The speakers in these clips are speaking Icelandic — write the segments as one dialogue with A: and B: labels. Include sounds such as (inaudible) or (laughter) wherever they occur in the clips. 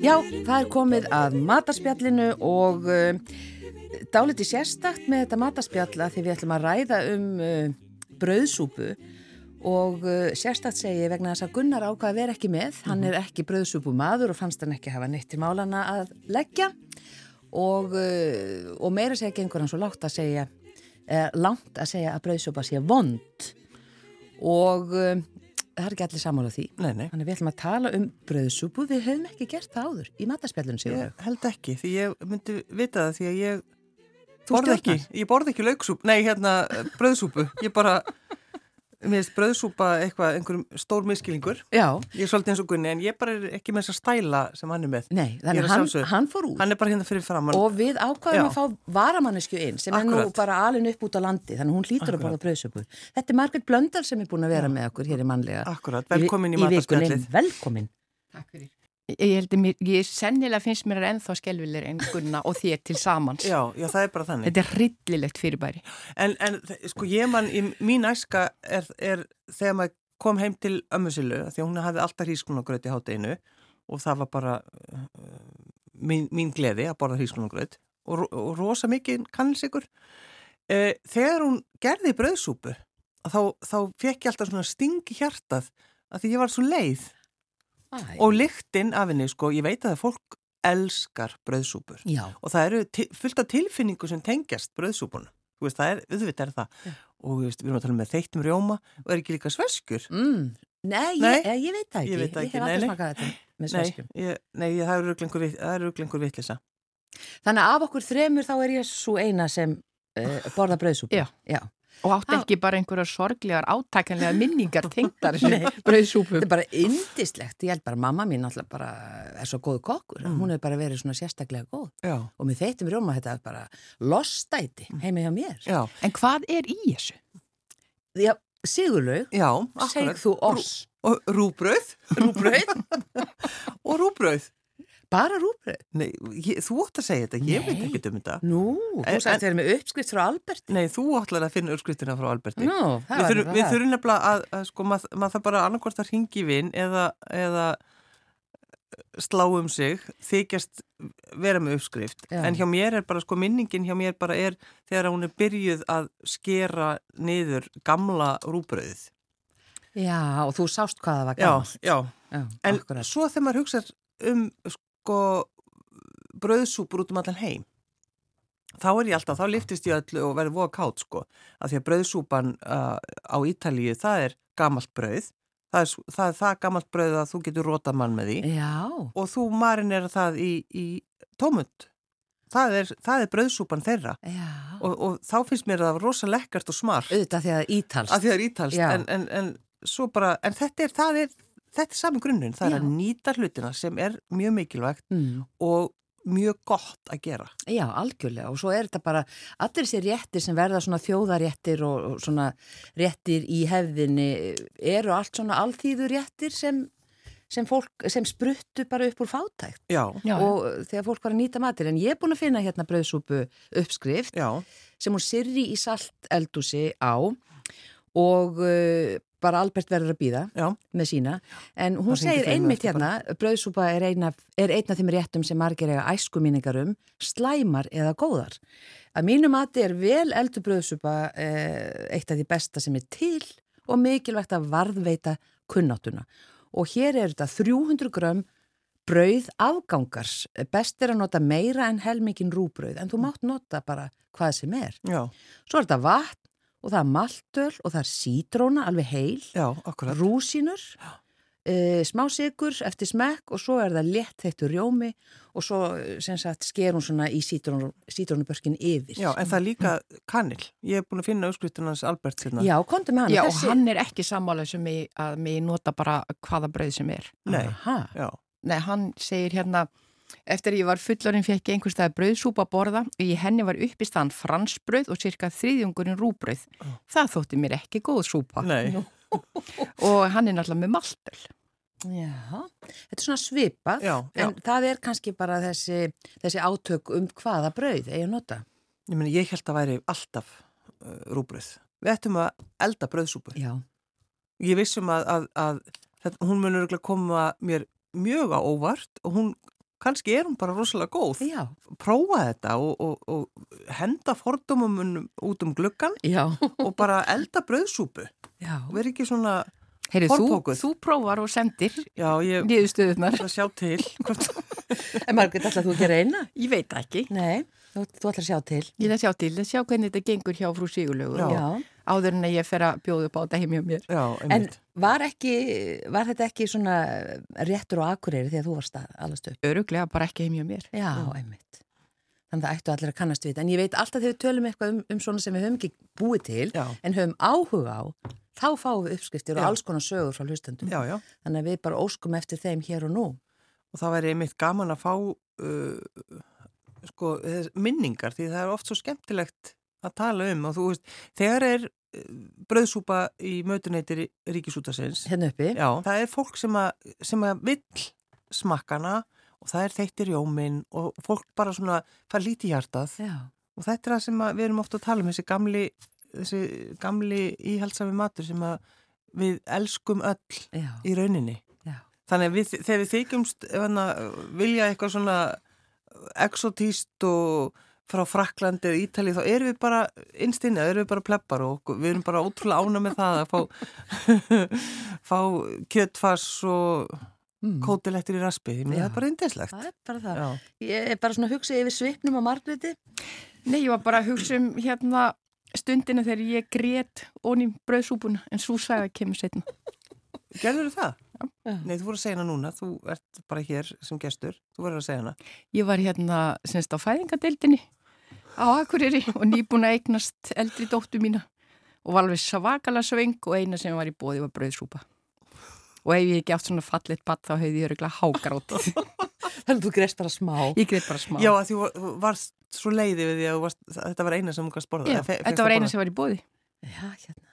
A: Já, það er komið að matarspjallinu og uh, dáliti sérstakt með þetta matarspjall að því við ætlum að ræða um uh, brauðsúpu og uh, sérstakt segi ég vegna þess að Gunnar ákvað að vera ekki með, hann er ekki brauðsúpumadur og fannst hann ekki hafa neitt til málana að leggja og, uh, og meira segja gengur hann svo lágt að segja, eh, langt að segja að brauðsúpa sé vond og uh, það er ekki allir sammála því.
B: Nei, nei,
A: Þannig að við ætlum að tala um bröðsúpu, við höfum ekki gert það áður í matarspjallunum sigur.
B: ég held ekki, því ég myndi vita það því að ég
A: Þú
B: borð ekki,
A: stjórnar.
B: ég borð ekki lauksúp, nei hérna eh, brauðsúpu, ég bara, mér finnst brauðsúpa eitthvað, einhverjum stór miskilingur,
A: Já,
B: ég er svolítið eins og Gunni en ég bara er ekki með þessa stæla sem hann er með,
A: nei,
B: Ég er
A: þannig
B: að
A: að hann,
B: sjálfsögðu.
A: hann fór út
B: hann er bara hérna fyrir framann,
A: og við ákvaðum
B: Já.
A: að fá varamannesku inn sem er nú
B: Akkurat.
A: bara alin upp út á landi, þannig að hún hlýtur að
B: Akkurat.
A: borða bröðsúpu. Þetta er Margrét Blöndal sem er búin að vera með okkur hér í mannlega.
B: akkurat, Ah, velkomin í,
A: vi-
B: í
A: vikunni.
B: matarspjallið.
A: Velkomin.
C: Ég held að mér, ég sennilega finnst mér er ennþá skelvilir en Gunna og þér til samans.
B: Já, já, það er bara þannig.
C: Þetta er rillilegt fyrirbæri.
B: En, en þ- sko ég mann, í mín æska er, er þegar maður kom heim til ömmusilu, því að hún hafði alltaf hrískunagraut í hátteginu og það var bara uh, mín, mín gleði að borða hrískunagraut og, ro- og rosa mikið kannilsikur. Uh, þegar hún gerði brauðsúpu, að þá, þá fekk ég alltaf svona sting í hjartað að því ég var svo leið
A: Æ.
B: og lyktin af henni, sko, ég veit að fólk elskar brauðsúpur
A: Já,
B: og það eru til, fullt af tilfinningu sem tengjast bröðsúpunum. Þú veist, það er, auðvitað er það. Og þú veist, við erum að tala með þeittum rjóma og er ekki líka sveskur.
A: mm. nei, ég,
B: Nei,
A: eh, ég veit það ekki.
B: ég veit það
A: Ég
B: ekki,
A: hef
B: nei,
A: aldrei
B: nei.
A: smakað þetta með
B: Nei,
A: sveskjum.
B: ég, nei, ég- það eru örugglega einhver vit- það eru örugglega einhver vitlisa.
A: Þannig að af okkur þremur þá er ég svo eina sem uh, borða bröðsúpu.
C: Já.
A: Já.
C: Og átti
A: Ha.
C: ekki bara einhverjar sorglegar átækanlega minningar tengdar
A: Nei.
C: þessu brauðsúpum.
A: Þetta er bara yndislegt, ég held bara mamma mín alltaf bara er svo góð kokkur,
B: Mm.
A: hún hefur bara verið svona sérstaklega góð
B: Já.
A: og með þeittum rjóma þetta er bara lostæti heima hjá mér.
B: Mm. Já,
C: En hvað er í þessu?
A: Já, Sigurlaug,
B: já,
A: seg
B: akkurat.
A: þú oss,
B: Og rúbröð
A: rúbröð,
B: (laughs) og rúbröð.
A: bara rúbröð.
B: Nei, ég, þú ótt að segja þetta, ég veit
A: Nei.
B: ekki um þetta.
A: Nú, þú
B: En-
A: sagðist verið með uppskrift frá Alberti.
B: Nei, þú ætlar að finna uppskriftina frá Alberti.
A: Nú, það
B: Við
A: var
B: þurfum, við þurfum nefnilega að, að sko, mað, maður þarf bara annarkvort að ringi vinn eða, eða slá um sig, þykjast vera með uppskrift.
A: Já.
B: En hjá mér er bara, sko, minningin hjá mér bara er þegar hún er byrjuð að skera niður gamla rúbröðið.
A: Já, og þú sást hvað það var
B: Já,
A: gaman.
B: já.
A: Já,
B: En
A: akkurat.
B: svo þegar maður hugsar um, sko, bröðsúpur út um allan heim, þá er ég alltaf, þá liftist ég öllu og verður voða kátt, sko. Af því að bröðsúpan uh, á Ítalíu, það er gamalt bröð. Það er, s- það er það gamalt bröð að þú getur rótað mann með
A: Eh.
B: því.
A: Já,
B: Og þú marinera það í, í tómund. Það er, það er bröðsúpan þeirra.
A: já,
B: Og, og þá finnst mér það rosa lekkart og smart
A: auðvitað því að það ítalst.
B: að því það er ítalst
A: Já.
B: en, en, en, svo bara, en þetta er, það er þetta er saman grunnun, það er
A: Já.
B: að nýta hlutina sem er mjög mikilvægt
A: Mm.
B: og mjög gott að gera
A: Já, algjörlega og svo er þetta bara allir sér réttir sem verða svona þjóðaréttir og og svona réttir í hefðinni eru allt svona alþýður réttir sem, sem, fólk, sem spruttu bara upp úr fátækt
B: já,
C: Já,
A: og þegar fólk var að nýta matir en ég er búin að finna hérna brauðsúpu uppskrift
B: já,
A: sem hún sirri í salt eldúsi á og uh, bara Albert verður að býða
B: já,
A: með sína, en hún
B: Það hringir
A: segir
B: þeim
A: einmitt
B: eftir
A: hérna, brauðsúpa er eina, er eina þeim réttum sem margir eiga æskuminningar um, slæmar eða góðar. Að mínu mati er vel eldur brauðsúpa eh, eitt af því besta sem er til og mikilvægt að varðveita kunnáttuna. Og hér er þetta 300 grömm brauð afgangars. Best er að nota meira en helmingin rúbrauð,
B: Mm.
A: en þú mátt nota bara hvað sem er.
B: já,
A: Svo er þetta vatn og það er maltöl og það er sítróna alveg heil
B: já, akkurat
A: rúsinur, uh, smá sigur eftir smekk og svo er það létt þeittur rjómi og svo eh, sem sagt sker hún svona í sítrón- sítrónubörkin yfir.
B: já, en það er líka kanil ég er búin að finna uppskriftin hans Albert hérna. sinna
A: Já, komdu með hann.
C: Já, og hann er ekki sammála sem ég, að mig nota bara hvaða brauð sem er.
B: nei,
A: Aha,
B: já,
C: Nei, hann segir hérna Eftir að ég var fullorinn fekk ég einhvers staðar brauðsúpa að borða og í henni var uppistaðan fransbrauð og cirka þriðjungurinn rúbrauð. Það þótti mér ekki góð súpa
B: Nei,
A: Nú.
C: og hann er náttúrulega með maltöl.
A: Já, þetta er svona svipað,
B: Já, já.
A: en það er kannski bara þessi, þessi átök um hvaða brauð eigi að nota.
B: ég meina ég held að væri alltaf uh, rúbröð. Við ættum að elda bröðsúpu.
A: Já,
B: Ég vissum að, að, að þetta, hún munur örugglega koma mér mjög á óvart og hún, kannski er hún bara rosalega góð.
A: já,
B: Prófa þetta og, og, og henda fordómumunum út um gluggan
A: já,
B: og bara elda bröðsúpu.
A: já.
B: Verð ekki svona,
C: Heyrðu, þú,
B: Fornpókuð.
C: þú prófar og sendir
B: já ég
C: niðurstöðunar.
B: ætla að sjá til hvort
A: (laughs) En Margrét, ætlaði þú ekki að reyna?
C: Ég veit það ekki.
A: Nei, þú, þú ætlar að sjá til.
C: Ég ætla að sjá til, að sjá hvernig þetta gengur hjá frú Sigurlaugur
B: Já.
C: og áður en að ég fer að bjóða upp á þetta heimjá mér.
B: Já,
A: En
B: einmitt.
A: var, ekki, var þetta ekki svona réttur og akureyri þegar þú varst allast upp?
C: Öruglega bara ekki heimjá mér.
A: Já, einmitt. Þannig að það ættu allir að kannast við þetta. En ég veit alltaf þegar við tölum eitthvað um, um svona sem við höfum ekki búið til,
B: Já.
A: en höfum áhuga á, þá fáum við uppskriftir
B: Já.
A: og alls konar sögur frá hlustendum.
B: já, já.
A: Þannig að við bara óskum eftir þeim hér og nú.
B: Og það væri einmitt gaman að fá uh, sko, þess- minningar því það er oft svo skemmtilegt að tala um og þú veist, þegar er uh, bröðsúpa í mötuneytir ríkisútasins,
A: Hérna uppi.
B: já, það er fólk sem að, sem að vill smakkana og það er þeittir jóminn og fólk bara svona fær lítið hjartað
A: Já.
B: og þetta er það sem að, við erum ofta að tala um þessi gamli, þessi gamli íhaldsami matur sem að við elskum öll
A: Já.
B: í rauninni.
A: Já.
B: Þannig að við, þegar við þykjumst ef hana, vilja eitthvað svona exotíst og frá Fraklandi eða Ítali þá erum við bara innstinni, þá erum við bara pleppar og okkur- við erum bara ótrúlega ána með það að fá, (laughs) fá kjötfass og
A: Mm.
B: kótilettir í raspið. Ég meina,
A: Já.
B: Það er bara indislegt.
A: Það er bara það.
B: Já,
A: Ég er bara svona að hugsa yfir svipnum á Margréti.
C: Nei, ég var bara að hugsa um hérna stundina þegar ég grét onni bröðsúbuna en svo sagði að kemur setna.
B: gerður það?
A: Já.
B: Nei, þú voru að segja hana núna, þú ert bara hér sem gestur, þú verður að segja hana.
C: Ég var hérna semst á fæðingadeildinni á Akureyri og nýbúin að eignast eldri dóttu mína og var alveg svakala svöng og eina sem var í bóði var bröðsúpa. Og ef ég ekki átt svona fallit batt þá hefði ég öruglega hágrátt.
A: Þannig að þú greist bara smá.
C: Ég greit bara smá.
B: Já, að því var- þú varst svo leiði við því að þú varst, þetta var eina sem hún gæst borða.
C: Já,
B: Fe- fékkst
C: þetta
B: að
C: var eina
B: borða.
C: sem var í bóði.
A: Já, hérna.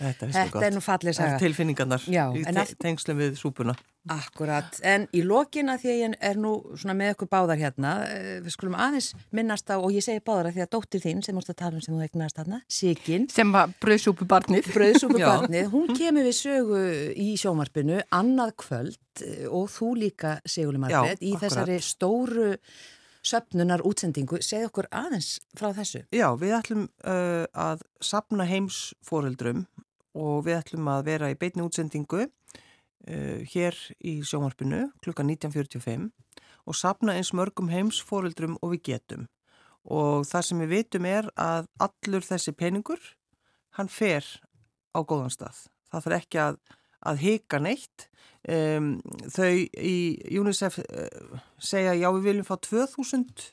B: Þetta, veistu
A: Þetta
B: gott.
A: er nú fallið
B: Það
A: saga.
B: er tilfinningarnar
A: Já,
B: í
A: en
B: te
A: að-
B: tengslum við súpuna.
A: Akkurat, en í lokina því að ég er nú svona með ykkur báðar hérna, eh, við skulum aðeins minnast á, og ég segi báðar að því að dóttir þín sem vorst að tala um sem þú eignast þarna, Sigyn,
C: Sem var bröðsúpubarnið.
A: bröðsúpubarnið, hún kemur við sögu í sjómarpinu annað kvöld eh, og þú líka, Sigurli Margrét, í
B: akkurat.
A: þessari stóru söpnunar útsendingu, segð okkur aðeins frá þessu.
B: Já, við ætlum uh, að sapna heims foreldrum og við ætlum að vera í beitni útsendingu uh, hér í sjónvarpinu klukkan 19.45 og sapna eins mörgum heims foreldrum og við getum. Og það sem við vitum er að allur þessi peningur, hann fer á góðan stað. Það þarf ekki að, að hika neitt. Um, þau í UNICEF uh, segja já við viljum fá 2000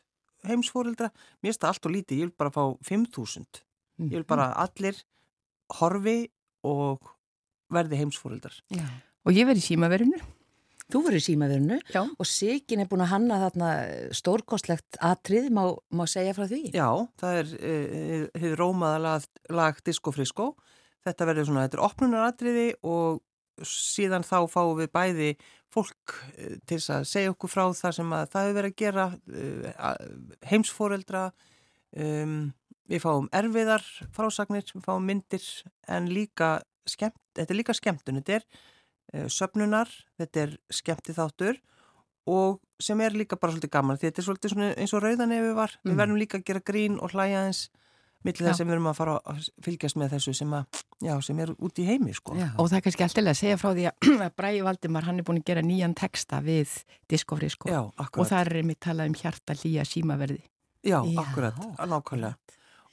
B: heimsfóreldra, mér finnst það allt og lítið, ég vil bara fá 5000. Ég vil bara að allir horfi og verði heimsfóreldrar.
A: Já.
C: Og ég verið í símaverinu.
A: Þú voru í símaverinu
C: Já.
A: og Sigyn er búin að hanna þarna stórkostlegt atrið, má, má segja frá því?
B: Já, það er eh, hið rómaða lag, lag Disco Frisco. Þetta verður svona, þetta er opnunaratriði og síðan þá fáum við bæði fólk eh, til þess að segja okkur frá það sem að það hefur verið að gera, eh, að- heimsforeldra, um, við fáum erfiðar frásagnir, við fáum myndir en líka skemmt, þetta er líka skemmtun, þetta er uh, söpnunar, þetta er skemmti þáttur og sem er líka bara svolítið gaman því þetta er svolítið svona eins og rauðanefi var
A: Mm.
B: við verðum líka að gera grín og hlæja eins millir
C: Já.
B: þess sem við erum að fara að fylgjast með þessu sem, að, já, sem er út í heimi sko.
A: Já.
C: Og það er kannski alltaf að segja frá því að (clears throat) að Bræði Valdimar, hann er búin að gera nýjan texta við Discovery sko.
B: já,
C: og
B: akkurat
C: þar er einmitt talað um hjarta hlýja símaverði.
B: Já,
A: Já,
B: akkurat, nákvæmlega.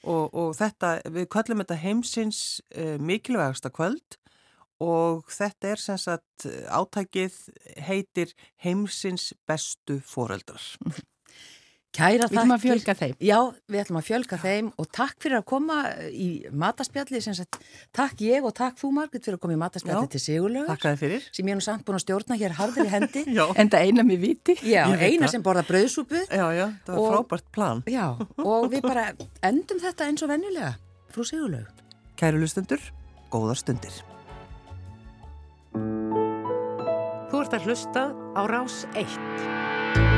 B: Og, og þetta, við kvöllum þetta heimsins uh, mikilvægasta kvöld og þetta er sem sagt eh, átækið heitir heimsins bestu foreldrar.
A: Kæra
C: Við erum að
A: þakkir.
C: fjölga þeim.
A: Já, við ætlum að fjölga þeim og takk fyrir að koma eh, í mataspjalli, sem sagt, takk ég og takk þú Margrit fyrir að koma í mataspjalli
B: Já.
A: til Sigurlaugur,
B: Takka þið fyrir.
A: sem ég er nú samt búin að stjórna hér
B: (laughs)
A: harður í hendi.
B: Já,
C: En það eina mér viti.
A: Já,
B: Ég veit
A: eina
B: það.
A: sem borða brauðsúpu.
B: já, já, það var
A: Og-
B: frábært plan.
A: Já, og við bara endum þetta eins og vennilega, frú Sigurlaug.
B: Kæru lustendur, góðar stundir.
D: Þú ert að hlusta á Rás 1.